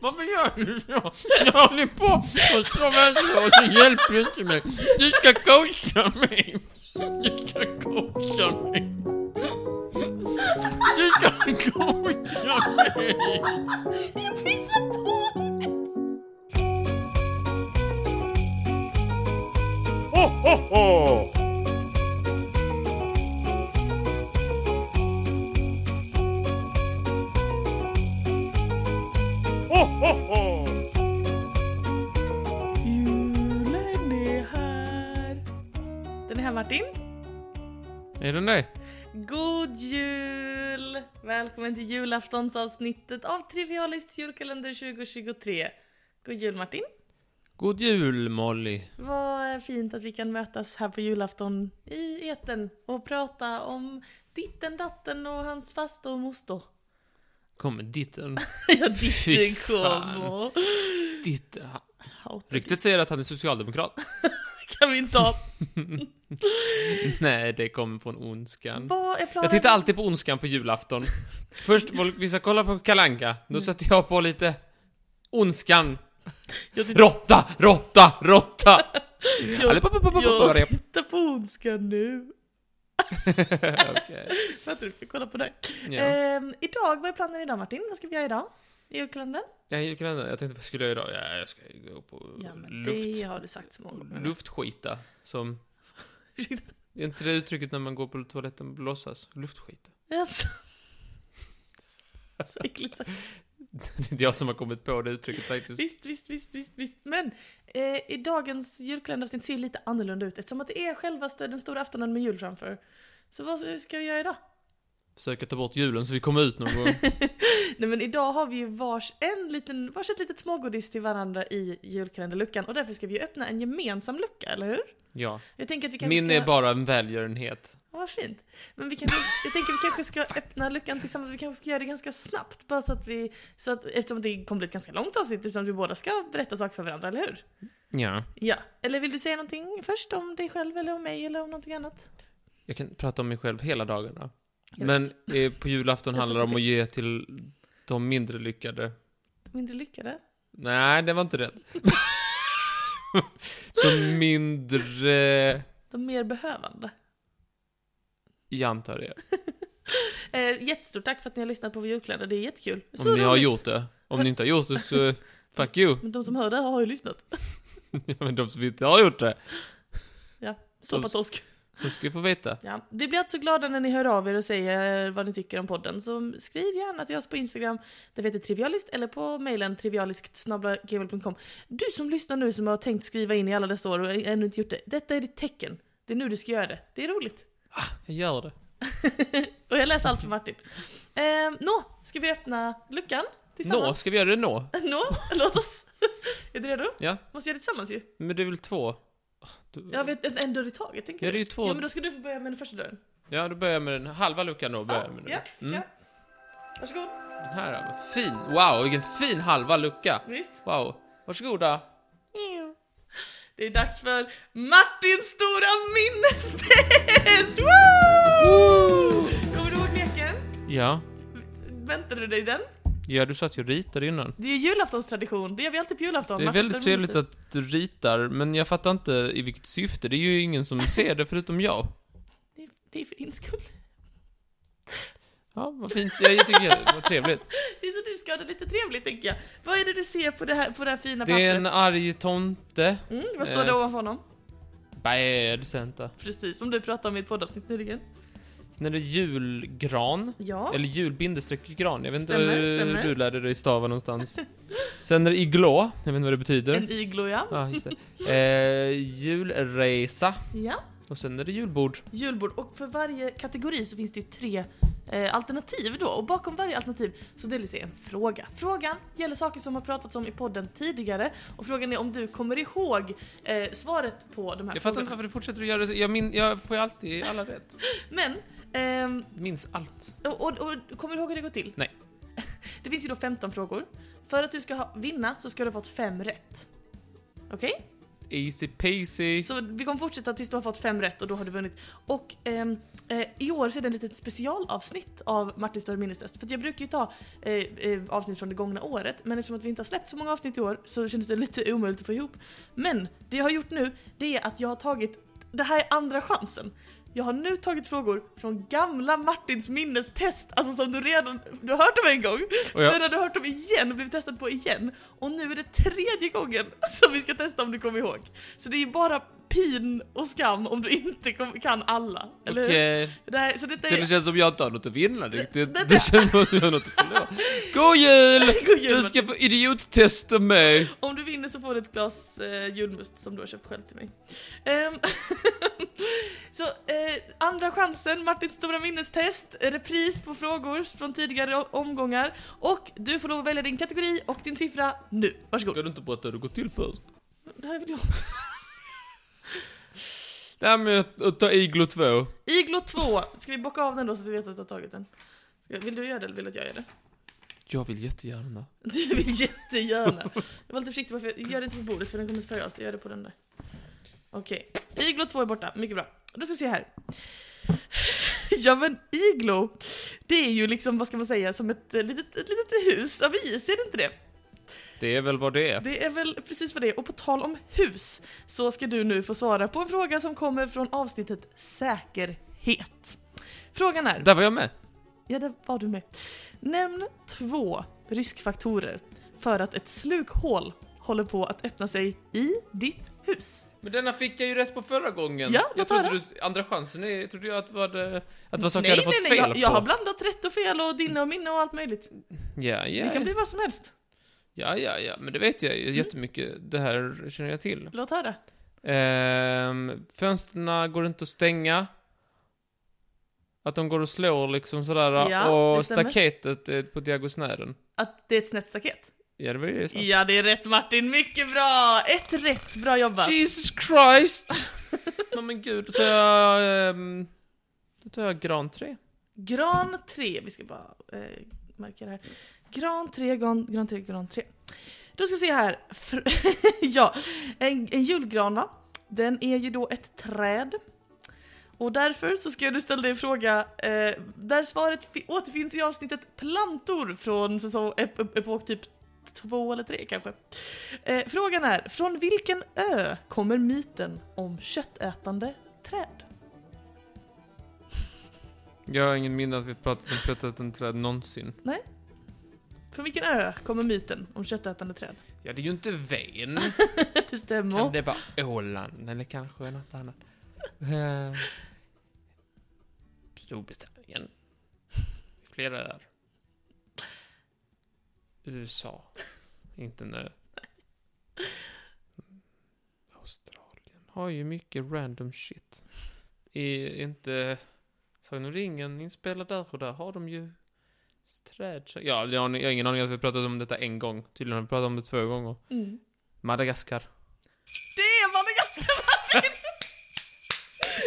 Varför gör du så? Jag håller på och slår vänster och så hjälper du inte mig. Du ska coacha mig. Du ska coacha mig. Du ska coacha mig. Jag pissar på mig! Ho, ho, ho! Ho, ho, ho! Julen är här. Den är här Martin. Är den det? God jul! Välkommen till julaftonsavsnittet av Trivialists julkalender 2023. God jul Martin. God jul Molly. Vad fint att vi kan mötas här på julafton i eten och prata om ditten datten och hans faster och moster. Kommer ditten. Ja, Fy ditten fan. kommer. Ditten. Hatar Ryktet säger att han är socialdemokrat. ditt Kan vi inte ha. Nej, det kommer från ondskan. Vad är planen? Jag tittar alltid på Ondskan på julafton. Först, folk- vi ska kolla på Kalanka. Då sätter jag på lite Ondskan. Jag tittar- Råtta, råtta, råtta! Jag Allihopa- tittar på Ondskan nu. Okej. Vänta, du får kolla på det. Ja. Ehm, idag, vad är planen idag Martin? Vad ska vi göra idag? I julkalendern? Jag gick redan- Jag tänkte, vad skulle jag göra idag? Ja, jag ska gå på Ja men det luft, har du sagt så många gånger. luftskita. Som, Ursäkta. är inte det uttrycket när man går på toaletten och låtsas? Luftskita. Alltså. Så äckligt sagt. Det är inte jag som har kommit på det uttrycket faktiskt. Visst, visst, visst, visst, visst. Men eh, i dagens julkalenderavsnitt ser ju lite annorlunda ut eftersom att det är självaste den stora aftonen med jul framför. Så vad ska vi göra idag? Försöka ta bort julen så vi kommer ut någon gång. Nej men idag har vi ju vars en liten, varsitt litet smågodis till varandra i julkalenderluckan och därför ska vi ju öppna en gemensam lucka, eller hur? Ja. Jag tänker att vi kanske Min ska... är bara en välgörenhet. Ja, vad fint. Men vi kanske, jag tänker att vi kanske ska öppna luckan tillsammans, vi kanske ska göra det ganska snabbt bara så att vi, så att, eftersom det kommer bli ett ganska långt avsnitt eftersom vi båda ska berätta saker för varandra, eller hur? Ja. Ja. Eller vill du säga någonting först om dig själv eller om mig eller om någonting annat? Jag kan prata om mig själv hela dagarna. Jag Men eh, på julafton Jag handlar det om sätter att ge till de mindre lyckade. Mindre lyckade? Nej, det var inte rätt. de mindre... De mer behövande? Jag antar det. Eh, jättestort tack för att ni har lyssnat på vår julkalender, det är jättekul. Så Om ni har roligt. gjort det. Om ni inte har gjort det så... Fuck you. Men de som hör det här har ju lyssnat. Ja, Men de som inte har gjort det, Ja, soppatorsk. så ska vi få veta. Ja, vi blir alltså glada när ni hör av er och säger vad ni tycker om podden. Så skriv gärna till oss på Instagram, där vi heter trivialist, eller på mejlen trivialiskt.gmail.com. Du som lyssnar nu som har tänkt skriva in i alla dessa år och ännu inte gjort det. Detta är ditt tecken. Det är nu du ska göra det. Det är roligt. Jag gör det. och jag läser allt för Martin. Ehm, Nå, ska vi öppna luckan tillsammans? Nå, ska vi göra det nå? Nå, låt oss. är du redo? Ja, Måste göra det tillsammans ju. men det är väl två? Du- Jag vet en- en dörr i taget, tänker Ja, du? det är ju två. Ja, men då ska du få börja med den första dörren. Ja, då börjar jag med den halva luckan då. Börjar jag med den. ja, Mm. ja. Varsågod. Den här, vad fin. Wow, vilken fin halva lucka. Visst. Wow. Varsågoda. Det är dags för Martins stora minnestest! Woo! Kommer du ihåg leken? Ja. Väntade du dig den? Ja, du sa att jag ritade innan. Det är ju julaftonstradition, det gör vi alltid på julafton. Det är Martins väldigt stora trevligt minnestest. att du ritar, men jag fattar inte i vilket syfte. Det är ju ingen som ser det förutom jag. Det är, det är för din skull. Ja, vad fint. Jag tycker det var trevligt. Det är så du ska ha det lite trevligt tänker jag. Vad är det du ser på det här, på det här fina Det är pappret? en arg tomte. Mm, vad står det eh. ovanför honom? Bad Santa. Precis, som du pratade om i ett poddavsnitt nyligen. Sen är det julgran. Ja, Eller jul-gran. Jag vet inte Stämmer, hur stämmer. du lärde dig stava någonstans. Sen är det iglå. Jag vet inte vad det betyder. en iglo ja. Ja, just det. Eh, julresa. ja. Och sen är det julbord. julbord. Och för varje kategori så finns det ju tre eh, alternativ då. Och bakom varje alternativ så döljer sig en fråga. Frågan gäller saker som har pratats om i podden tidigare. Och frågan är om du kommer ihåg eh, svaret på de Jag fattar här inte frågorna. varför du fortsätter att göra det. Jag, min, jag får ju alltid alla rätt. Men, ehm, Minns allt. och, och, och kommer du ihåg hur det går till? Nej. Det finns ju då 15 frågor. För att du ska ha, vinna så ska du ha fått fem rätt. Okej? Easy peasy. Så vi kommer fortsätta tills du har fått fem rätt och då har du vunnit. Och ehm, eh, i år så är det ett litet specialavsnitt av Martins större minnestest. För att jag brukar ju ta eh, eh, avsnitt från det gångna året, men eftersom att vi inte har släppt så många avsnitt i år så kändes det lite omöjligt att få ihop. Men det jag har gjort nu, det är att jag har tagit, det här är andra chansen. Jag har nu tagit frågor från gamla Martins minnestest, alltså som du redan, du har hört dem en gång, Och jag- sen har du hört dem igen och blivit testad på igen. Och nu är det tredje gången som vi ska testa om du kommer ihåg. Så det är ju bara pin och skam om du inte kom, kan alla, eller hur? Okej. Det här, så detta eh, Det är... känns som jag inte har något att vinna riktigt. det- Det känns som att jag har något att förlora. God jul! God jul, Du ska få idiottesta mig. Om du vinner så får du ett glas eh, julmust som du har köpt själv till mig. Ehm, så eh, andra chansen, Martins stora minnestest, repris på frågor från tidigare o- omgångar. Och du får lov att välja din kategori och din siffra nu. Varsågod. Ska du inte berätta hur det går till först? Det här är väl jag. Det här med att, att ta iglo 2. Iglo 2, ska vi bocka av den då så att vi vet att du har tagit den? Ska, vill du göra det eller vill du att jag gör det? Jag vill jättegärna. Du vill jättegärna. Jag var lite försiktig bara för jag gör det inte på bordet för den kommer spröja så jag gör det på den där. Okej, Iglo 2 är borta, mycket bra. Då ska vi se här. Ja men Iglo, det är ju liksom, vad ska man säga, som ett eh, litet, ett litet hus av is, är det inte det? Det är väl vad det är. Det är väl precis vad det är, och på tal om hus så ska du nu få svara på en fråga som kommer från avsnittet säkerhet. Frågan är, Där var jag med. Ja, det var du med. Nämn två riskfaktorer för att ett slukhål håller på att öppna sig i ditt hus. Men denna fick jag ju rätt på förra gången. Ja, jag låt trodde höra. du, andra chansen, är- jag trodde jag att det var, det, att det var saker jag hade fått fel jag, jag har på. blandat rätt och fel och dina och mina och allt möjligt. Ja, Det kan ja, bli Mm. vad som helst. ja, ja, ja, men det vet jag ju jättemycket. Det här känner jag till. Låt höra. Ehm, fönstren går inte att stänga. Att de går och slår liksom sådär. Ja, det och stämmer. staketet är på diagosnären. Att det är ett snett staket. Ja, det var ju så. Ja, det är rätt Martin. Mycket bra! Ett rätt. Bra jobbat. Jesus Christ! Nej men gud, då tar jag... ehm, då tar jag gran 3. Gran 3, vi ska bara eh, markera här. Gran 3, gran, gran 3, gran 3. Då ska vi se här. Fr- ja, en, en julgran va? Den är ju då ett träd. Och därför så ska jag nu ställa dig en fråga eh, där svaret fi- återfinns i avsnittet plantor från säsong, ep- ep- epok typ två eller tre kanske. Eh, frågan är, från vilken ö kommer myten om köttätande träd? Jag har ingen minne att vi pratat om plättätande träd någonsin. Från vilken ö kommer myten om köttätande träd? Ja, det är ju inte Ven. Det stämmer. Kan det vara Åland eller kanske något annat? Ehm, Storbritannien. Flera öar. USA. Inte en ö. Australien. Har ju mycket random shit. I, inte Sagan om ringen inspelad där och där har de ju träd. Ja, jag har, jag har ingen aning att vi har pratat om detta en gång. Tydligen har vi pratat om det två gånger. Mm. Madagaskar. Det är Madagaskar Martin!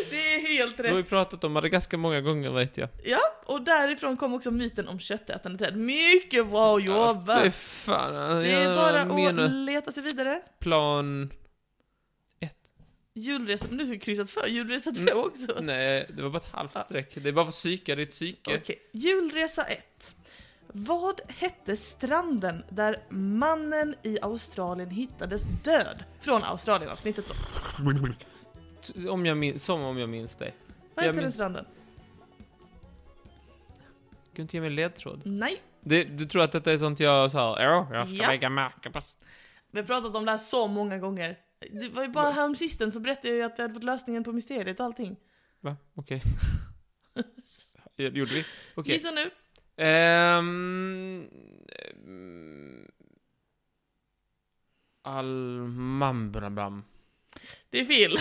Det är helt Du har ju rätt. pratat om Madagaskar många gånger vet jag. Ja, och därifrån kom också myten om köttätande träd. Mycket bra Fy jobbat! fan. Det är bara jag menar att leta sig vidare. plan... Julresa, men nu har du kryssat för julresa 2 Mm. också. Nej, det var bara ett halvt Ja. streck. Det är bara för psyka, det är ett psyke. Okej, julresa 1. Vad hette stranden där mannen i Australien hittades död? Från Australien-avsnittet då. T- Om jag minns, som om jag minns dig. Vad Jag hette den minns- stranden? Du kan inte ge mig en ledtråd. Nej. Det, du tror att detta är sånt jag sa, ja, jag ska Ja. lägga märke på... s-" Vi har pratat om det här så många gånger. Det var ju bara häromsisten så berättade jag ju att vi hade fått lösningen på mysteriet och allting. Va? Okej. Ja, det Gjorde vi? Okej. Gissa nu. Ehm... ehm, Almambrabam. Det är fel.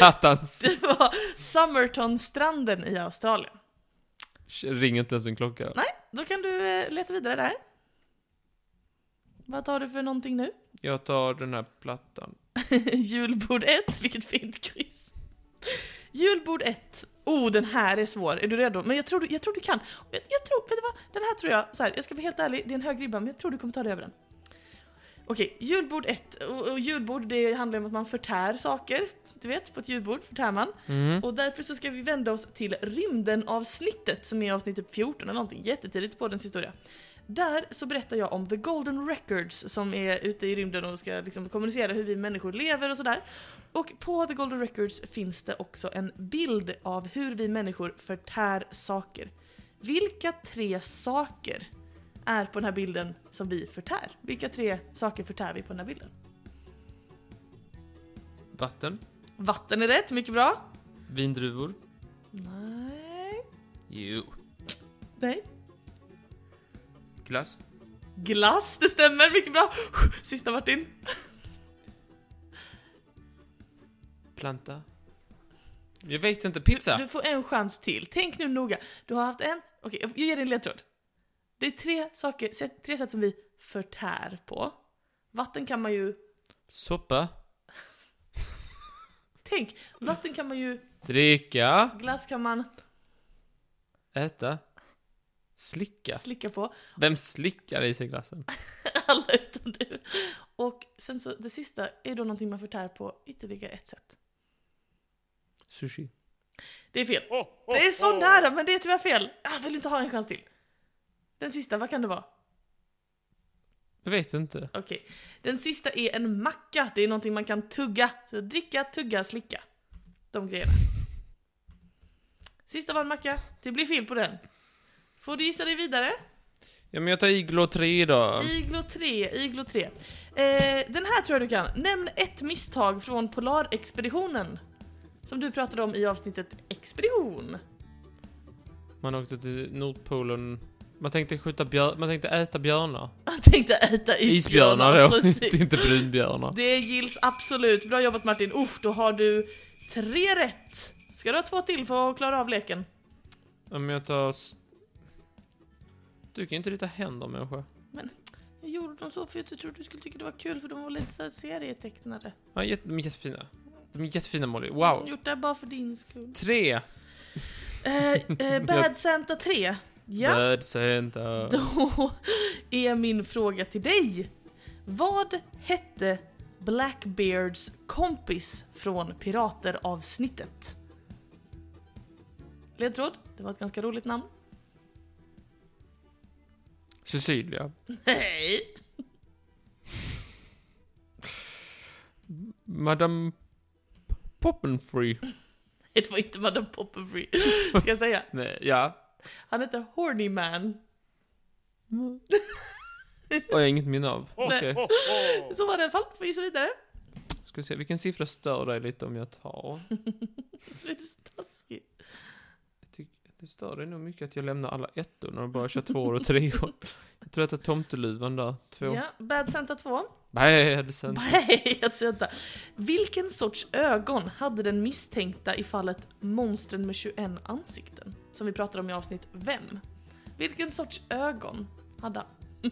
Attans. Det var Summertonstranden i Australien. Ring inte ens en klocka. Nej, då kan du eh, leta vidare där. Vad tar du för någonting nu? Jag tar den här plattan. Julbord 1, vilket fint quiz. Julbord 1. Oh, den här är svår. Är du redo? Men jag tror du, jag tror du kan. Jag, jag tror, vet du vad? Den här tror jag, så här, jag ska vara helt ärlig, det är en hög ribba, men jag tror du kommer ta dig över den. Okej, julbord 1. Och, och julbord det handlar om att man förtär saker. Du vet, på ett julbord förtär man. Mm. Och därför så ska vi vända oss till rymden-avsnittet som är avsnitt typ 14 eller någonting, jättetidigt på dens historia. Där så berättar jag om The Golden Records som är ute i rymden och ska liksom kommunicera hur vi människor lever och sådär. Och på The Golden Records finns det också en bild av hur vi människor förtär saker. Vilka tre saker är på den här bilden som vi förtär? Vilka tre saker förtär vi på den här bilden? Vatten, Vatten är rätt, mycket bra. vindruvor. Nej. Jo. Nej. Glass. Glass, det stämmer, mycket bra! Sista Martin. Planta. Jag vet inte. Pizza. Du får en chans till. Tänk nu noga. Du har haft en... Okej, jag ger dig en ledtråd. Det är tre saker, sätt- tre sätt som vi förtär på. Vatten kan man ju... Soppa. Tänk! Vatten kan man ju... Dricka. Glass kan man Äta. Slicka. slicka på. Vem slickar i sig glassen? Alla utom du. Och sen så, det sista är då någonting man förtär på ytterligare ett sätt. Sushi. Det är fel. ho, ho, Det är så ho. nära, men det är tyvärr fel. Jag vill inte ha en chans till. Den sista, vad kan det vara? Jag vet inte. Okej. Den sista är en macka. Det är någonting man kan tugga. Så dricka, tugga, slicka. De grejerna. Sista var en macka. Det blir fel på den. Får du gissa dig vidare? Ja men jag tar iglo 3 då. Iglo 3, Iglo 3. Eh, den här tror jag du kan. Nämn ett misstag från Polarexpeditionen. Som du pratade om i avsnittet Expedition. Man åkte till Nordpolen. Man tänkte skjuta björn... Man tänkte äta björnar. Jag tänkte äta isbjörnar. Isbjörnar då. precis. Inte, inte brunbjörnar. Det gills absolut. Bra jobbat Martin. Uff, då har du tre rätt. Ska du ha två till för att klara av leken? Ja men jag tar... s- Du kan ju inte rita händer människa. Jag gjorde dem så för att jag trodde du skulle tycka det var kul för de var lite så här serietecknade. Ja, jätte, de är jättefina. De är jättefina Molly. Jag Wow. Gjort det här bara för din skull. Tre. Eh, eh, Bad Santa 3. Ja, Bad Santa. då är min fråga till dig. Vad hette Blackbeards kompis från Pirater-avsnittet? Ledtråd, det var ett ganska roligt namn. Cecilia. Nej! Madame Poppenfree. Det var inte Madame Popperfree, ska jag säga. Nej, ja. Han hette Horny Man. Och jag har inget minne av. ho, Okej. ho, ho. Så var det i alla fall, får gissa vidare. Ska vi se, vilken siffra stör dig lite om jag tar? Det är så taskigt. Jag tycker, det stör dig nog mycket att jag lämnar alla ettor när de bara kör tvåor och treor. Jag tror att det är tomteluvan där. Två. Ja, Bad Santa 2. Bad Santa. Nej, jag ser inte. Vilken sorts ögon hade den misstänkta i fallet Monstren med 21 ansikten? Som vi pratade om i avsnitt Vem? Vilken sorts ögon hade han?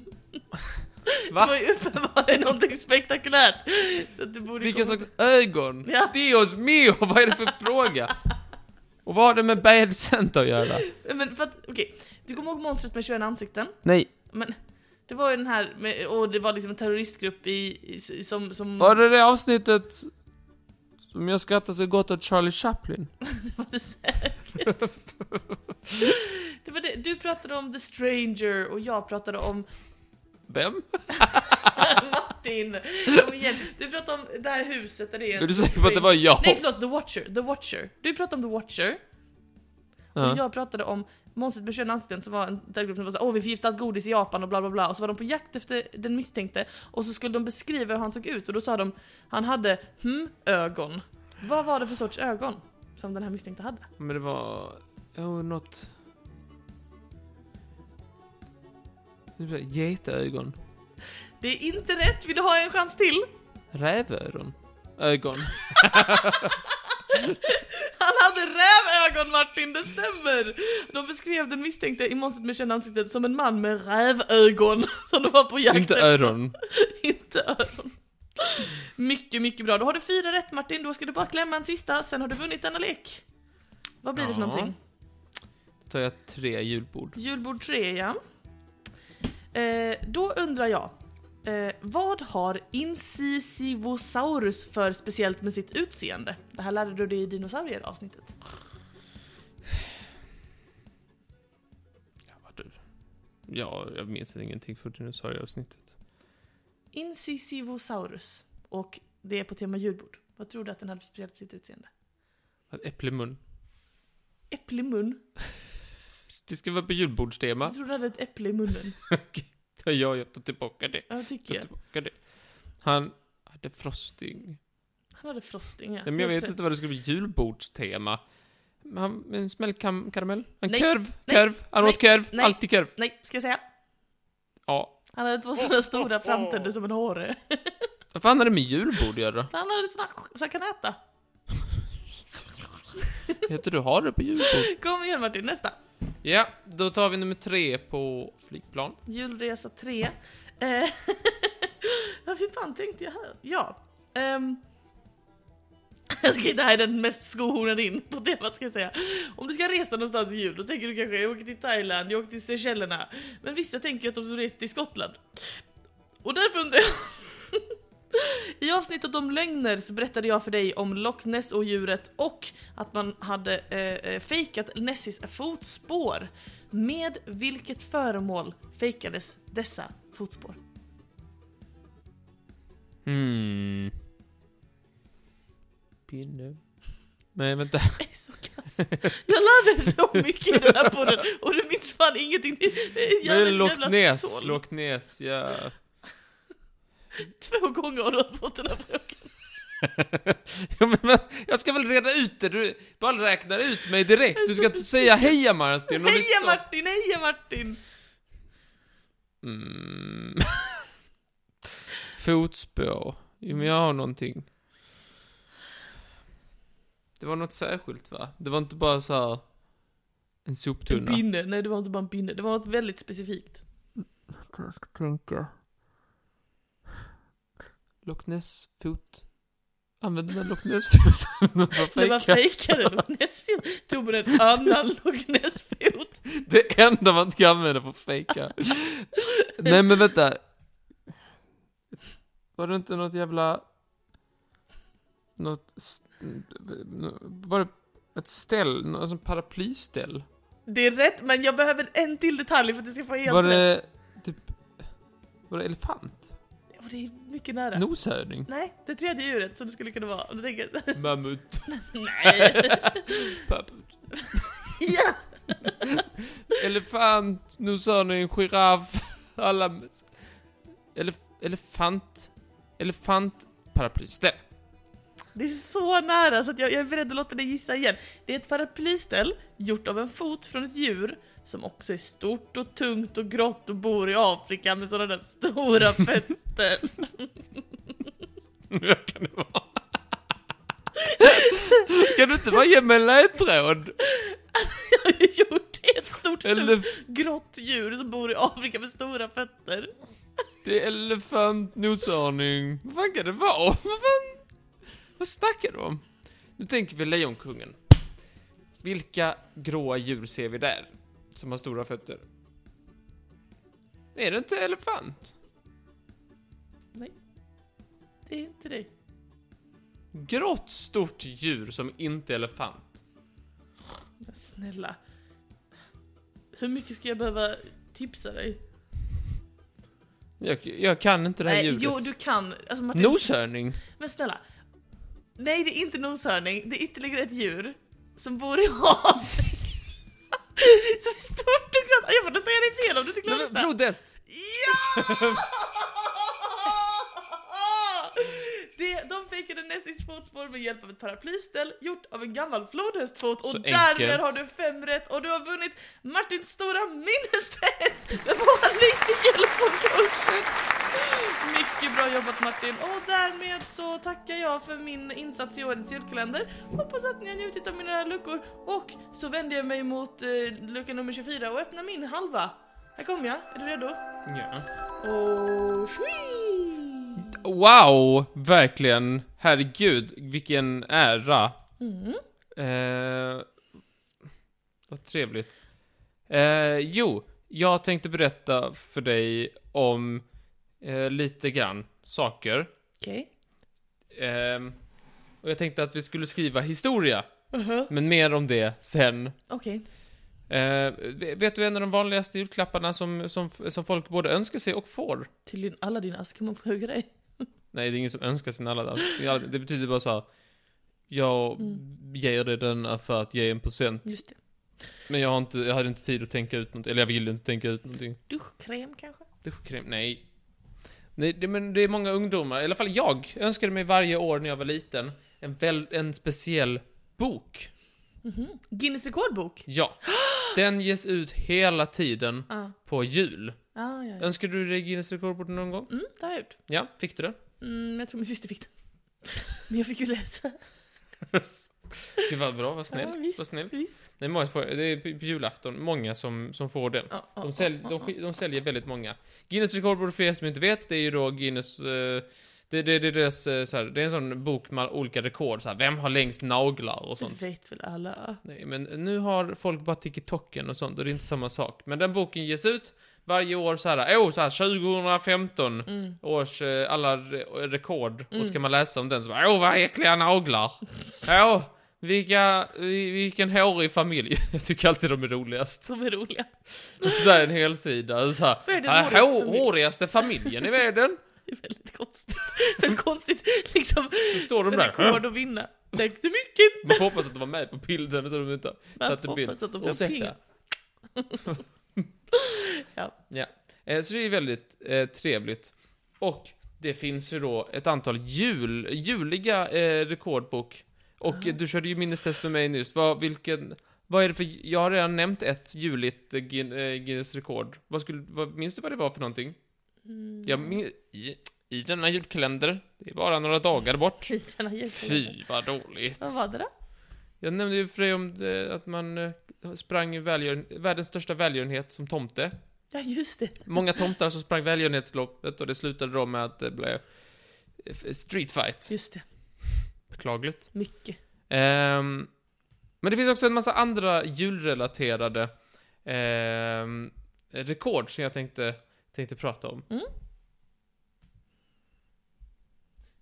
Va? Det var ju uppenbarligen någonting spektakulärt. Så att du borde Vilken komma- slags ögon? Ja. Dios mio, vad är det för fråga? Och vad har det med Bad Santa att göra? Men för att, okej. Du kommer ihåg Monstret med 21 ansikten? Nej, Men det var ju den här, med, och det var liksom en terroristgrupp i, i som... som var det det avsnittet som jag skrattade så gott åt Charlie Chaplin? var det säkert. det var det. Du pratade om The Stranger och jag pratade om Vem? Martin. Kom igen. Du pratade om det här huset där det är... Är du en säker på att det var spring- jag? Nej förlåt, The Watcher. The Watcher. Du pratade om The Watcher Ja. och jag pratade om Monstret med kön ansikten som var en terrorgrupp som var såhär åh vi förgiftat godis i Japan och bla bla bla och så var de på jakt efter den misstänkte och så skulle de beskriva hur han såg ut och då sa de han hade hm ögon. Vad var det för sorts ögon som den här misstänkte hade? Men det var... Oh, något... Nu blir det Getögon. Det är inte rätt, vill du ha en chans till? Rävöron. Ögon. Han hade rävögon Martin, det stämmer! De beskrev den misstänkte i Monstret med kända ansiktet som en man med rävögon som de var på jakt Inte efter. öron. Inte öron. Mycket, mycket bra. Då har du fyra rätt Martin, då ska du bara klämma en sista, sen har du vunnit denna lek. Vad blir det för Ja. någonting? Då tar jag tre julbord. Julbord 3, ja. Eh, då undrar jag, Eh, vad har Incisivosaurus för speciellt med sitt utseende? Det här lärde du dig i dinosaurier-avsnittet. Ja, vad du. Ja, jag minns ingenting för dinosaurieavsnittet. Incisivosaurus. Och det är på tema julbord. Vad tror du att den hade för speciellt med sitt utseende? Ett äpple i mun. Äpple i mun. Det ska vara på Jag julbordstema. tror du hade ett äpple i munnen. Ja, jag tar tillbaka det. Ja, det Ta tycker jag. tillbaka det. Han hade frosting. Han hade frosting, ja. Nej, men jag Helt vet rätt. inte vad det skulle bli julbordstema. Men Han, en smällkaramell? En Nej. kurv? Nej. Kurv? Han åt kurv? Nej. Alltid kurv? Nej, ska jag säga? Ja. Han hade två sådana stora framtänder som en hare. Vad fan har det med julbord att göra? Han hade sådana så han kan äta. Heter du har det på julbord? Kom igen Martin, nästa. Ja, då tar vi nummer tre på flygplan. Julresa 3. Eh, ja, hur fan tänkte jag här? Ja. ehm, jag ska, det här är den mest skohornade in på temat ska jag säga. Om du ska resa någonstans i jul, då tänker du kanske jag åker till Thailand, jag åker till Seychellerna. Men vissa tänker ju att de reser till Skottland. Och därför undrar jag... I avsnittet om lögner så berättade jag för dig om Loch Ness och djuret och att man hade eh, eh, fejkat Nessis fotspår. Med vilket föremål fejkades dessa fotspår? Hmm. Pinne. Nej, vänta. Jag är så kass. Jag lärde så mycket i den här podden och du minns fan ingenting. Jag är så jävla Loch Ness. såld. Loch Ness, ja. Två gånger har du fått den här frågan. ja men, men, jag ska väl reda ut det. Du bara räknar ut mig direkt. Du Jag är ska så inte säga heja Martin. och Heja liksom- Martin, heja Martin! Mm. Fotspår. Jo, men jag har någonting. Det var något särskilt va? Det var inte bara så här en En soptunna. pinne, nej det var inte bara en pinne, det var något väldigt specifikt. Jag ska tänka. Loch Ness fot. Använde den Loch Ness foten? När man fejkade Loch Ness-fot tog man en annan Loch Ness-fot. Det enda man inte kan använda för att fejka. Nej men vänta. Var det inte något jävla... Något... s- Var det ett ställ? Något alltså paraplyställ? Det är rätt, men jag behöver en till detalj för att du ska få helt Var rätt. det typ... Var det elefant? Och det är mycket nära. Noshörning? Nej, det tredje djuret som det skulle kunna vara. Om du tänker... Mammut? Nej! Papput? ja! Elefant? Noshörning? Giraff? Alla... mus- Elef elefant? Elefant? Paraplyställ? Det är så nära så att jag, jag är beredd att låta dig gissa igen. Det är ett paraplyställ gjort av en fot från ett djur som också är stort och tungt och grått och bor i Afrika med sådana där stora fötter. Vad kan det vara? kan du inte bara ge mig en ledtråd? Jag har ju gjort det, ett stort tungt Elef- grått djur som bor i Afrika med stora fötter. det är elefant, noshörning. Vad fan kan det vara? Vad fan? Vad snackar du om? Nu tänker vi Lejonkungen. Vilka gråa djur ser vi där? Som har stora fötter. Är det inte elefant? Det är inte det. Grått stort djur som inte är elefant. Men snälla. Hur mycket ska jag behöva tipsa dig? Jag, jag kan inte det här Nej, djuret. jo du kan. Alltså, Martin, Noshörning? Men snälla. Nej, det är inte noshörning. Det är ytterligare ett djur som bor i havet. som är stort och grönt. Jag får nästan säga dig fel om du inte klarar Nej, men detta. Flodhäst? Ja! Det, de fejkade Nessis fotspår med hjälp av ett paraplyställ gjort av en gammal flodhästfot och Så därmed enkelt. har du fem rätt och du har vunnit Martins stora minnestest med målning till Hjälpskonkursen! Mycket bra jobbat Martin och därmed så tackar jag för min insats i årets julkalender. Hoppas att ni har njutit av mina luckor och så vänder jag mig mot eh, lucka nummer 24 och öppnar min halva. Här kommer jag, är du redo? Ja. Och shui! Wow, verkligen. Herregud, vilken ära. Mm. Eh, vad trevligt. Eh, jo, jag tänkte berätta för dig om eh, lite grann saker. Okej. Ehm, och jag tänkte att vi skulle skriva historia, Uh-huh. men mer om det sen. Okej. Eh, vet du en av de vanligaste julklapparna som, som, som folk både önskar sig och får? Till alla dina ask kan man fråga dig. Nej, det är ingen som önskar sin alla alla- Det betyder bara så här. Jag ger dig denna för att ge en procent. Mm. Just det. Men jag, har inte, jag hade inte tid att tänka ut något, eller jag ville inte tänka ut någonting. Duschkräm kanske? Duschkräm? Nej. Nej, det, men det är många ungdomar, i alla fall jag, önskade mig varje år när jag var liten en, väl, en speciell bok. Mhm. Guinness rekordbok? Ja. Den ges ut hela tiden Ja. på jul. Ah, ja, ja. Önskar du dig Guinness rekordbok någon gång? Mm, det har jag gjort. Ja, fick du det? Mm, jag tror min syster fick den. Men jag fick ju läsa. Gud vad bra, vad Ja, snällt. visst, vad snällt. visst. Det är, många, som får- det är på på julafton många som, som får den. Ja, ja, De, sälj, ja, de, ja, sk- de säljer väldigt många. Guinness rekordbok för er som inte vet, det är ju då Guinness... eh, det, det, det, är deras, eh, så här, det är en sån bok med olika rekord, så här, vem har längst naglar och sånt. Det vet väl alla. Nej, men nu har folk bara TikToken och sånt, och det är inte samma sak. Men den boken ges ut varje år så här, åh, så här 2015 Mm. års eh, alla re- rekord. Och ska man läsa om den så bara, åh vad äckliga naglar. åh, vilka, vi- vilken hårig familj. Jag tycker alltid de är roligast. Som är roliga. Så här en hel sida, så här, Vad är det som här, hårigaste hår- familj?" hårigaste familjen i världen. Det är väldigt konstigt. Väldigt konstigt liksom. Då står de där. Rekord att vinna. Tack så mycket. Man får hoppas att de var med på bilden så de inte Man satt en får bild. hoppas att de får Ursäkta. pengar. Ja. ja. Eh, Så det är väldigt eh, trevligt. Och det finns ju då ett antal jul, juliga eh, rekordbok. Och Ah. eh, du körde ju minnestest med mig nyss. Vad, vilken, vad är det för, jag har redan nämnt ett juligt eh, Guin- eh, Guinness rekord. Vad skulle, vad, minns du vad det var för någonting? Mm. Jag min, i, I denna julkalender, det är bara några dagar Mm. bort. Kritarna Fy vad dåligt. Vad var det då? Jag nämnde ju för dig om det, att man eh, sprang i välgören, världens största välgörenhet som tomte. Ja just det. Många tomtar som sprang välgörenhetsloppet och det slutade då med att det blev eh, street fight. Just det. Beklagligt. Mycket. Ehm, men det finns också en massa andra julrelaterade ehm, rekord som jag tänkte, tänkte prata om. Mm.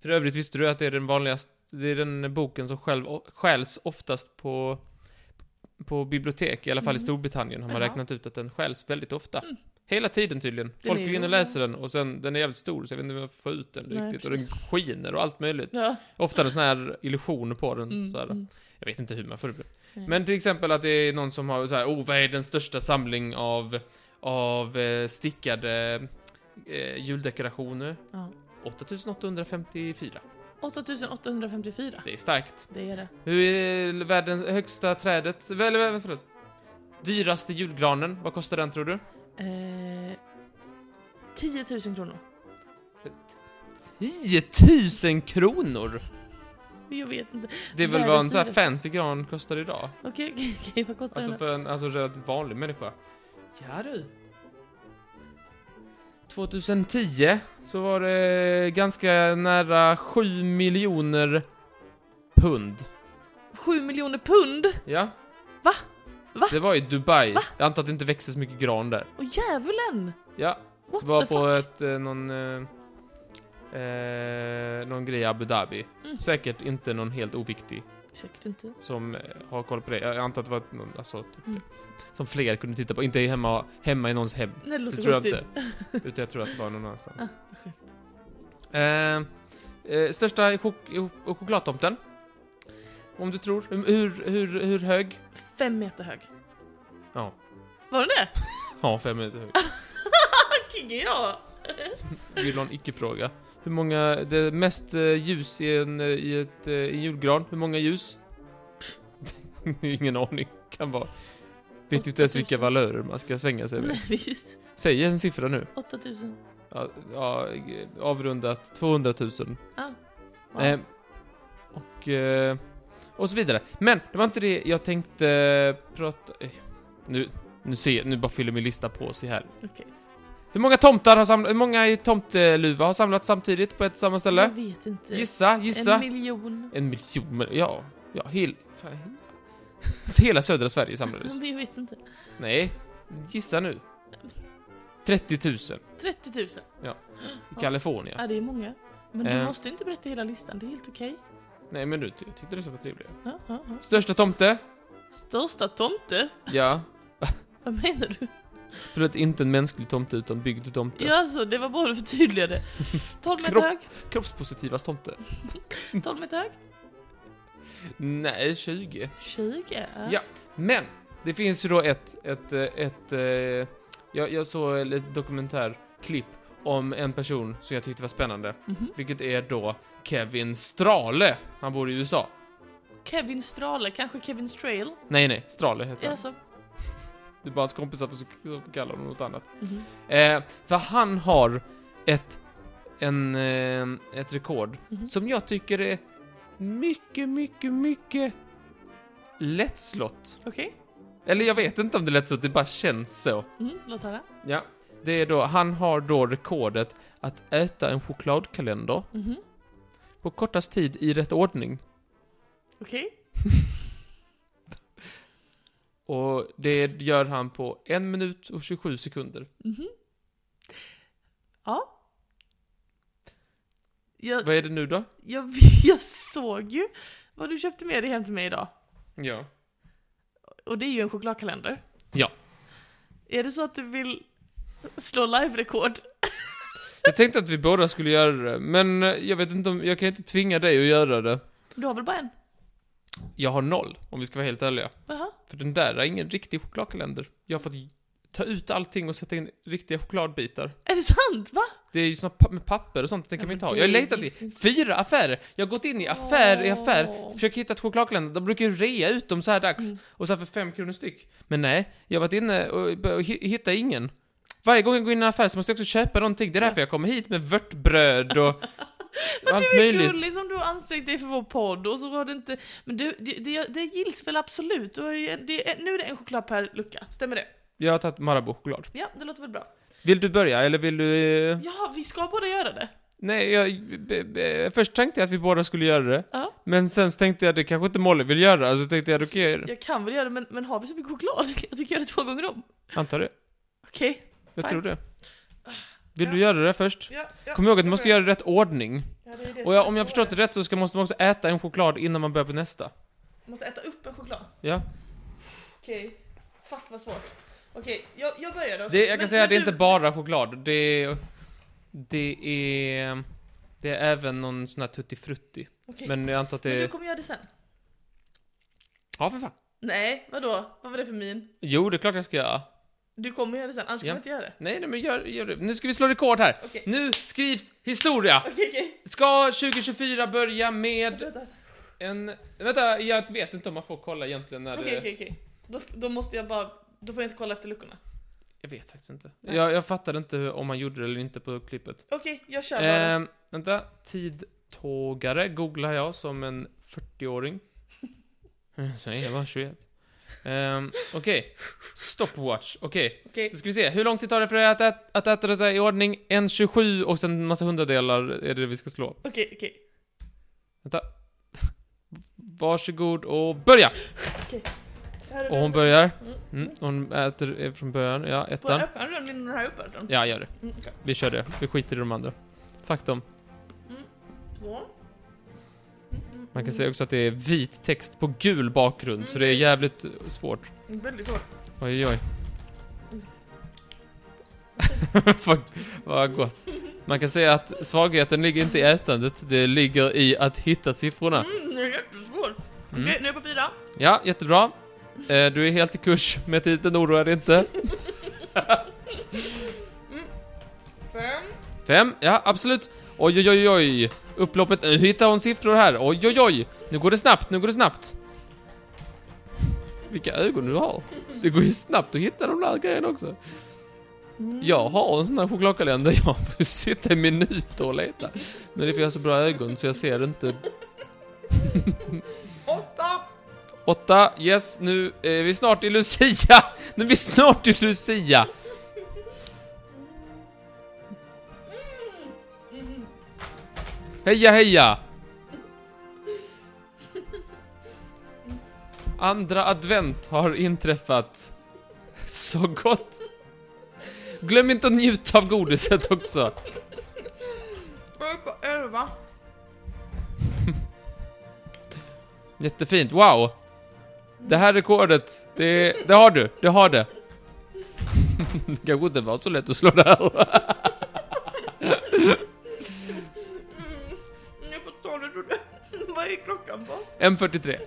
För övrigt visste du att det är den vanligaste, det är den boken som själv, stjäls oftast på, på bibliotek, i alla fall i Mm. Storbritannien har man Jaha. räknat ut att den stjäls väldigt ofta. Hela tiden tydligen. Folk är går in och ju- läser den och sen, den är jävligt stor så jag vet inte om jag får ut den Nej, riktigt. Och den skiner och allt möjligt. Ja. Ofta är det sån här illusion på den. Mm, Så här. mm. Jag vet inte hur man får det. Nej. Men till exempel att det är någon som har så här, oh vad är den största samling av, av eh, stickade eh, juldekorationer? Ja. 8854. 8854. Det är starkt. Det är det. Hur är världens högsta trädet? Eller, eller förlåt. Dyraste julgranen, vad kostar den tror du? Eh, 10 000 kronor. 10 000 kronor! Jag vet inte. Det är väl Världens vad en sån här dyraste. fancy gran kostar idag? Okej, okej, okej. Vad kostar Alltså den då? för en alltså relativt vanlig människa. Ja du. 2010 så var det ganska nära 7 miljoner pund. 7 miljoner pund? Ja. Va? Va? Det var i Dubai. Jag antar att det inte växer så mycket gran där. Åh djävulen! Ja, What var the på fuck? ett, eh, någon, eh, eh, någon grej i Abu Dhabi. Mm. Säkert inte någon helt oviktig Säkert inte. som eh, har koll på det. Jag antar att det var någon, alltså, typ, Mm. som fler kunde titta på. Inte hemma, hemma i någons hem. Nej, det Det låter tror jag konstigt. inte. Utan jag tror att det var någon annanstans. Ah, vad sjukt. Eh, eh, största chok chok- chokladtomten? Om du tror. Hur, hur, hur hög? Fem meter hög. Ja. Var den det? Ja, fem minuter hög. Kiggig ja! Vill ha en icke-fråga. Hur många, det mest eh, ljus i en, eh, i ett, eh, i en julgran? Hur många ljus? Ingen aning. Kan vara. Vet ju inte ens vilka 8000. valörer man ska svänga sig med. Nej, just Säg en siffra nu. 8000. Ja, ja, eh, avrundat 200 000. Ah. Wow. Eh, och, eh, och så vidare. Men det var inte det jag tänkte prata... eh, Nu, nu, ser, nu bara fyller min lista på sig här. Okej. Hur många tomtar har samlat, hur många i tomteluva har samlats samtidigt på ett och samma Jag ställe? vet inte. Gissa, Mm. En gissa. miljon. En miljon, men- ja. Ja, hel, fan, he- Mm. Så hela södra Sverige samlades. Men jag vet inte. Nej, gissa nu. 30 000 30 000. i Kalifornien. Ja, det är många. Men du Eh. måste inte berätta hela listan, det är helt okej. Nej men du, jag tyckte det skulle vara trevligt. Ja, ja, ja. Största tomte? Största tomte? Ja. Vad menar du? Förlåt, inte en mänsklig tomte utan byggd tomte. Ja, alltså, det var bara att förtydliga det. 12 meter Kropp. hög, Kroppspositivast tomte? 12 meter hög, Nej, 20. 20. Ja. Men! Det finns ju då ett, ett, eh, ett, eh, jag, jag såg ett dokumentärklipp om en person som jag tyckte var spännande, Mhm. vilket är då Kevin Strale. Han bor i USA. Kevin Strale, kanske Kevin Strail? Nej, nej, Strale heter han. Alltså. Det är bara hans kompisar som kallar honom något annat. Mhm. Eh, för han har ett, en, eh, ett rekord Mhm. som jag tycker är mycket, mycket, mycket lättslått. Okej, Eller jag vet inte om det är lättslått, det bara känns så. mm, låt höra. Ja. Det är då, han har då rekordet att äta en chokladkalender Mhm. på kortast tid i rätt ordning. Okej. Och det gör han på en minut och 27 sekunder. Ja. Jag, Vad är det nu då? jag, jag såg ju vad du köpte med dig hem till mig idag. Ja. Och det är ju en chokladkalender. Ja. Är det så att du vill slå live-rekord? Jag tänkte att vi båda skulle göra det, men eh, jag vet inte om, jag kan inte tvinga dig att göra det. Du har väl bara en? Jag har noll, om vi ska vara helt ärliga. Jaha. För den där är ingen riktig chokladkalender. Jag har fått ta ut allting och sätta in riktiga chokladbitar. Är det sant? Va? Det är ju såna pa- med papper och sånt, det tänker Ja, man men inte ha. det Jag har är letat liksom- i fyra affärer. Jag har gått in i affär i affär, Åh. försökt hitta ett chokladkalender. De brukar ju rea ut dem så här dags. Mm. Och så här för fem kronor styck. Men nej, jag har varit inne och, och hi- hittat ingen. Varje gång jag går in i en affär så måste jag också köpa någonting. Det är därför jag kommer hit med vörtbröd och, och allt Du är möjligt. gullig som liksom, du har ansträngt dig för vår podd och så har det inte... Men du, det, det, det gills väl absolut? Du har ju en, det, är- nu är det en choklad per lucka, stämmer det? Jag har tagit Marabou-choklad. Ja, det låter väl bra. Vill du börja eller vill du... eh, Ja, vi ska båda göra det. Nej, jag, b, b, först tänkte jag att vi båda skulle göra det. Ja. Men sen så tänkte jag att det kanske inte Molly vill göra, Alltså, så tänkte jag att okej, okay, Jag kan väl göra det, men, men har vi så mycket choklad? Jag tycker jag gör det två gånger om. antar det. Okej. Jag Fine. tror Ah, det. Vill Ja. du göra det först? Ja, ja, Kom ihåg att det du måste gör göra det i rätt ordning. jag. Ja, det är det Och som jag, är om jag svårare. förstått det rätt så ska, måste man också äta en choklad innan man börjar på nästa. Måste äta upp en choklad. Ja. Okej. Fuck vad svårt. Okej, jag, jag börjar då. Det, jag kan säga att det är du- inte bara choklad. Det är... Det är... Det är även någon sån här tutti frutti. Okej. Men jag antar att Men du det... kommer göra det sen? Ja, för fan. Nej, vadå? Vad var det för min? Jo, det är klart jag ska göra. Du kommer göra det sen, annars Ja. kommer jag inte göra det. Nej, nej, men gör, gör det. Nu ska vi slå rekord här. Okej. Nu skrivs historia! Okej, okej. Ska 2024 börja med Vänta. en... Vänta, jag vet inte om man får kolla egentligen när Okej, det... okej, okej. Då, då måste jag bara... Då får jag inte kolla efter luckorna. Jag vet faktiskt inte. Nej. Jag, jag fattade inte hur- om man gjorde det eller inte på klippet. Okej, jag kör bara. Eh, vänta, tidtågare googlar jag som en 40-åring. Så är jag bara 21. Ehm, Okej, stopwatch. Okej, Okej. då ska vi se. Hur lång tid tar det för dig att, ät, att äta det så här i ordning? En 27 och sen en massa hundradelar är det vi ska slå. Okej, okej. Vänta. Varsågod och börja! Här är Och hon den. börjar. Mm, hon äter eh, från början, ja, Får jag ettan. öppna den innan den här uppe? Alltså? Ja, gör det. Mm. Vi kör det. Vi skiter i de andra. Faktum. Två. Man kan säga också att det är vit text på gul bakgrund, så det är jävligt eh, svårt. Väldigt hårt. Oj, oj, oj. vad, vad gott. Man kan säga att svagheten ligger inte i ätandet, det ligger i att hitta siffrorna. Mm. Mm, det är jättesvårt. Okej, nu är jag på fyra. Ja, jättebra. Eh, Du är helt i kurs med titeln, oroa dig inte. Fem. Fem, ja absolut. Oj, oj, oj, oj. Upploppet, nu hittar hon siffror här. Oj, oj, oj. Nu går det snabbt, nu går det snabbt. Vilka ögon du har. Det går ju snabbt att hitta de där grejerna också. Jag har en sån här chokladkalender, jag får sitta i minuter och leta. Men det är för jag har så bra ögon så jag ser inte. Åtta. Åtta, yes, nu är vi snart i Lucia! Nu är vi snart i Lucia! Heja, heja! Andra advent har inträffat. Så gott! Glöm inte att njuta av godiset också. Jag är på 11. Jättefint, wow! Det här rekordet, det, det har du, det har det. Det kanske inte var så lätt att slå det här. Mm. Jag är på 12 trodde Vad är klockan på? M43.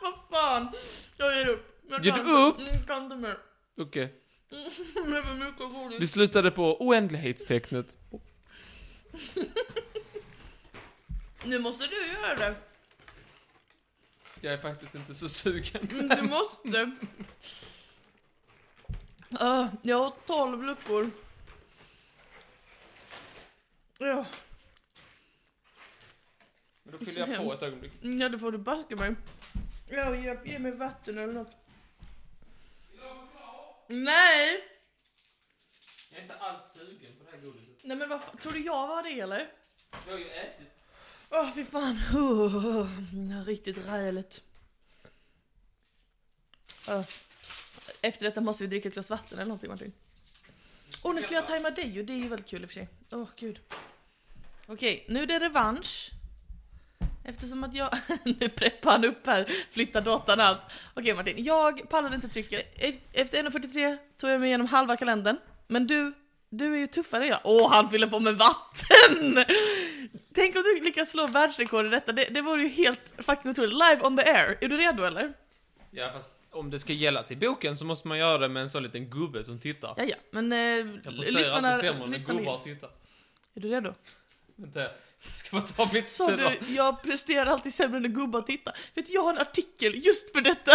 Vad fan? Jag ger upp. Jag Ger kan du inte. upp? Mm, kan inte mer. Okej. Det är för mycket godis. Vi slutade på oändlighetstecknet. Nu måste du göra det. Jag är faktiskt inte så sugen. Mm, Du måste. Ah, jag har 12 luckor. Ja, Men då Det är fyller så jag på hemskt. ett ögonblick. mm, ja det får du baska mig. Ja, ge, ge mig vatten eller något. Nej! Jag är inte alls sugen på det här godiset. Nej men vad fan, tror du jag var det eller? Jag har ju ätit. Åh oh, fy fan. Oh, oh, oh. Riktigt räligt. Ah. Efter detta måste vi dricka ett glas vatten eller någonting Martin. Åh nu ska jag tajma dig och det är ju väldigt kul i och för sig. Åh gud. Okej, nu är det revansch. Eftersom att jag... nu preppar han upp här, flyttar datan och allt. Okej Martin, jag pallade inte trycket. E- Efter 1.43 tog jag mig igenom halva kalendern. Men du, du är ju tuffare än jag. Åh, han fyller på med vatten! Tänk om du lyckas slå världsrekord i detta, det, det vore ju helt fucking otroligt. Live on the air, är du redo eller? Ja fast om det ska gällas i boken så måste man göra det med en sån liten gubbe som tittar. Ja, ja, men eh, Jag presterar alltid sämre när lyssnarna gubbar gills. tittar. Är du redo? Vänta, jag ska bara ta mitt Sa syra. du, jag presterar alltid sämre när gubbar tittar. Vet du, jag har en artikel just för detta.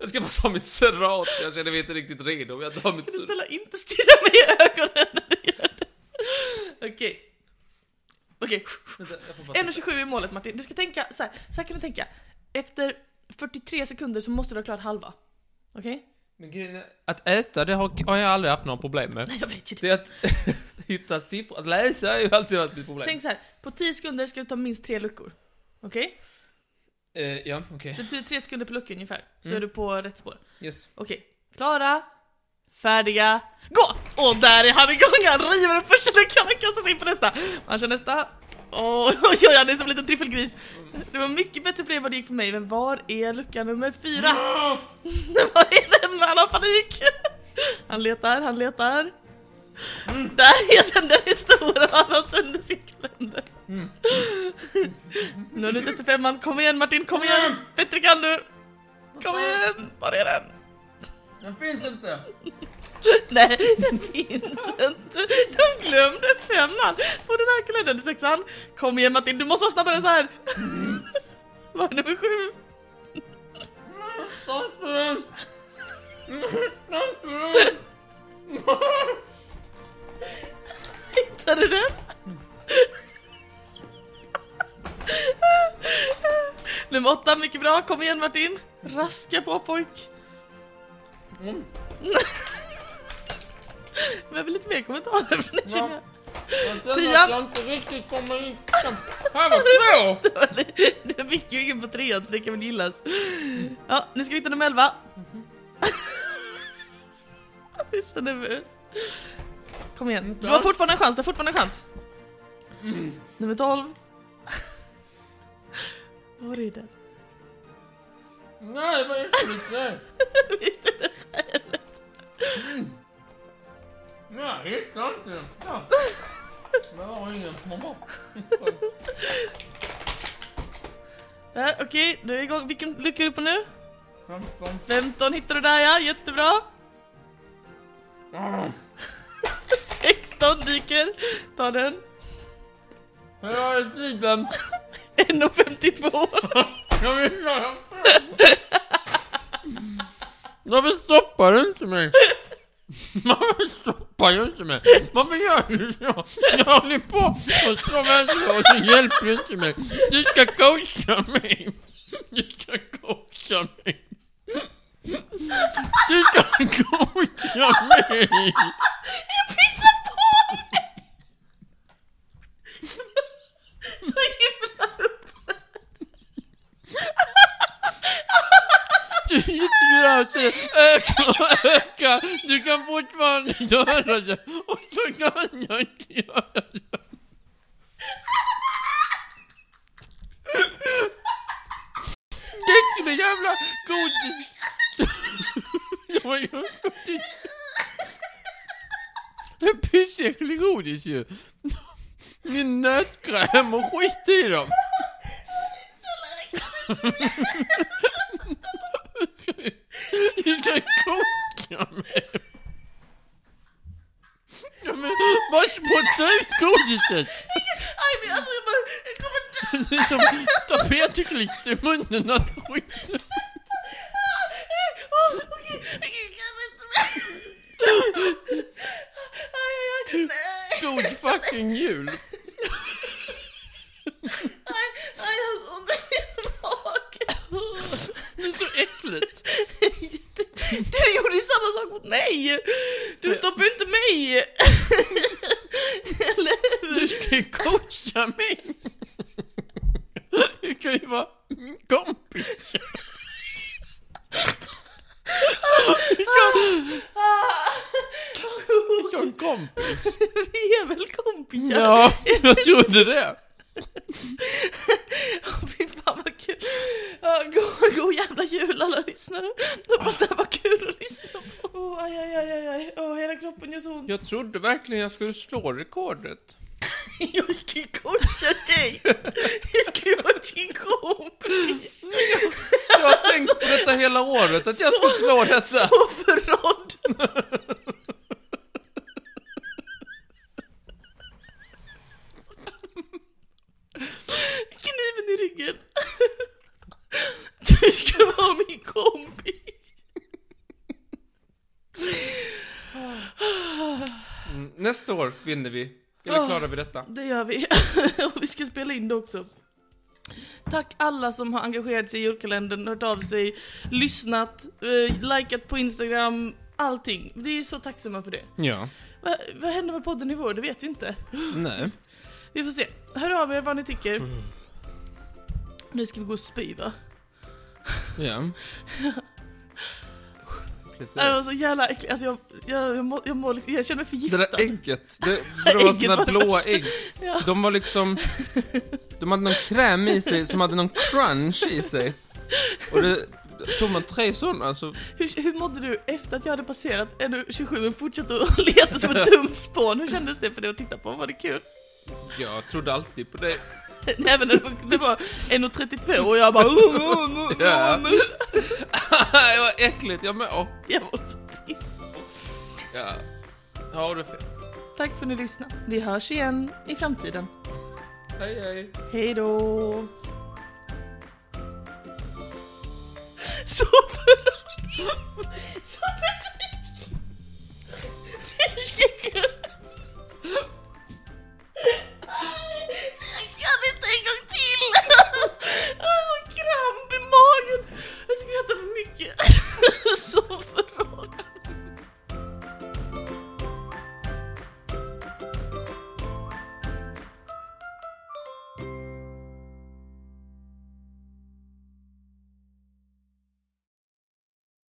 Jag ska bara ta mitt serat, jag känner mig inte riktigt redo om jag tar mitt Kan du syra. snälla inte stirra mig i ögonen när du gör det? Okej. Okej. Vänta, jag får bara titta. 1.27 är målet Martin. Du ska tänka så här. så här kan du tänka. Efter 43 sekunder så måste du ha klarat halva. Okej? Men grejen är, att äta det har, har jag aldrig haft några problem med. Jag vet ju det. Det är att hitta siffror, att läsa har ju alltid varit mitt problem. Tänk så här. på 10 sekunder ska du ta minst tre luckor. Okej? Eh, ja, okej. Det betyder 3 sekunder per lucka ungefär. Så Mm. är du på rätt spår. Yes. Okej, klara, färdiga, gå! Och där är han igång, han river upp första luckan och kastar sig in på nästa. Han kör nästa. Åh, oj, oj, han är som en liten tryffelgris. Det var mycket bättre för dig än vad det gick för mig, men var är lucka nummer fyra? Var är den? Han har panik! Han letar, han letar. Där är den, den är stor och han har sönder sin kalender. Nu är du ute efter femman, kom igen Martin, kom igen! Bättre kan du! Kom igen! Var är den? Den finns inte! Nej, den finns inte. De glömde femman på den här kalendern. Sexan. Kom igen Martin, du måste vara snabbare än så här. Var det nummer sju? Hittade du den? Nummer åtta, mycket bra. Kom igen Martin. Raska på pojk. Mm. Behöver lite mer kommentarer för det känner jag. Tian. Tian! Jag inte riktigt kommer in. Här var två! Du fick ju ingen på trean så det kan väl gillas. Ja, nu ska vi hitta nummer 11. Jag är så nervös. Kom igen, du har fortfarande en chans, du har fortfarande en chans. Nummer 12. Var är den? Nej, vad äckligt det är. Visst är det? Jag hittar inte den. Ja. Jag har ingen mamma. Där, Okej, du är igång. Vilken lucka är du på nu? 15. 15 hittar du där ja, jättebra. Mm. 16 dyker, ta den. Jag är tiden. 1.52. Jag vill ha Varför stoppar du inte mig? Varför stoppar du inte mig? Varför gör du så? Jag håller på och slår vänster och så hjälper du inte mig. Du ska coacha mig. Du ska coacha mig. Du ska coacha mig. pissa på mig! Så himla upprörd. och öka. Du kan fortfarande göra det. Och så kan jag inte göra det. Det skulle jävla godis. Det var ju godis. Det är pissäcklig godis ju. Med nötkräm och skit i dem. Du ska koka mig. Ja, men bara spotta ut godiset. Aj, men alltså jag bara... Jag kommer dö! Det är som tapetklister i munnen att skit. Åh, Okej, okej, jag kan inte mer. Aj, aj, aj. Nej. God fucking jul. Aj, aj, jag har så ont i magen. Det är så äckligt. Du gjorde ju samma sak mot mig! Du stoppade ju inte mig! Eller hur? Du ska ju coacha mig. Du kan ju vara min kompis. Ah, Som kompis. vi är väl kompisar? Ja, jag trodde det. Åh, Fy fan vad kul! Ja, god, god jävla jul alla lyssnare! Jag hoppas det här var kul att lyssna på! Åh, aj, aj, aj, aj, aj. Åh, hela kroppen gör så ont! Jag trodde verkligen jag skulle slå rekordet. Jag gick ju korsa dig! Jag gick ju vara din kompis! Jag har tänkt på detta hela året, att jag ska Så- slå detta. Så förrådd! Kniven i ryggen! Du ska vara min kompis! Mm, Nästa år vinner vi. Ah. Eller klarar vi detta? Det gör vi. och vi ska spela in det också. Tack alla som har engagerat sig i julkalendern, hört av sig, lyssnat, eh, likat på Instagram, allting. Vi är så tacksamma för det. Ja. Va, vad händer med podden i vår? Det vet vi inte. Nej. Vi får se. Hör av er vad ni tycker. Mm. Nu ska vi gå och spy va? Ja. Det var så jävla äckligt. Alltså jag, jag, jag, mår, jag, mår liksom, jag känner mig Det förgiftad. där ägget, det, det var Ägget var sådana det blåa värsta. ägg. Ja. De var liksom... De hade någon kräm i sig som hade någon crunch i sig. Och det, tog man tre sådana så... Hur, hur mådde du efter att jag hade passerat ännu 27 men fortsatte att leta som ett dumt spån? Hur kändes det för dig att titta på? Var det kul? Jag trodde alltid på det. Nej men det var, det var 1.32 och jag bara "Oh, oh, oh, oh, Ja. oh." det var äckligt, jag med. Åh, Jag var så piss. ja. Ja, det är fel. Tack för att ni lyssnade. Vi hörs igen i framtiden. Hej, hej. Hej då! Så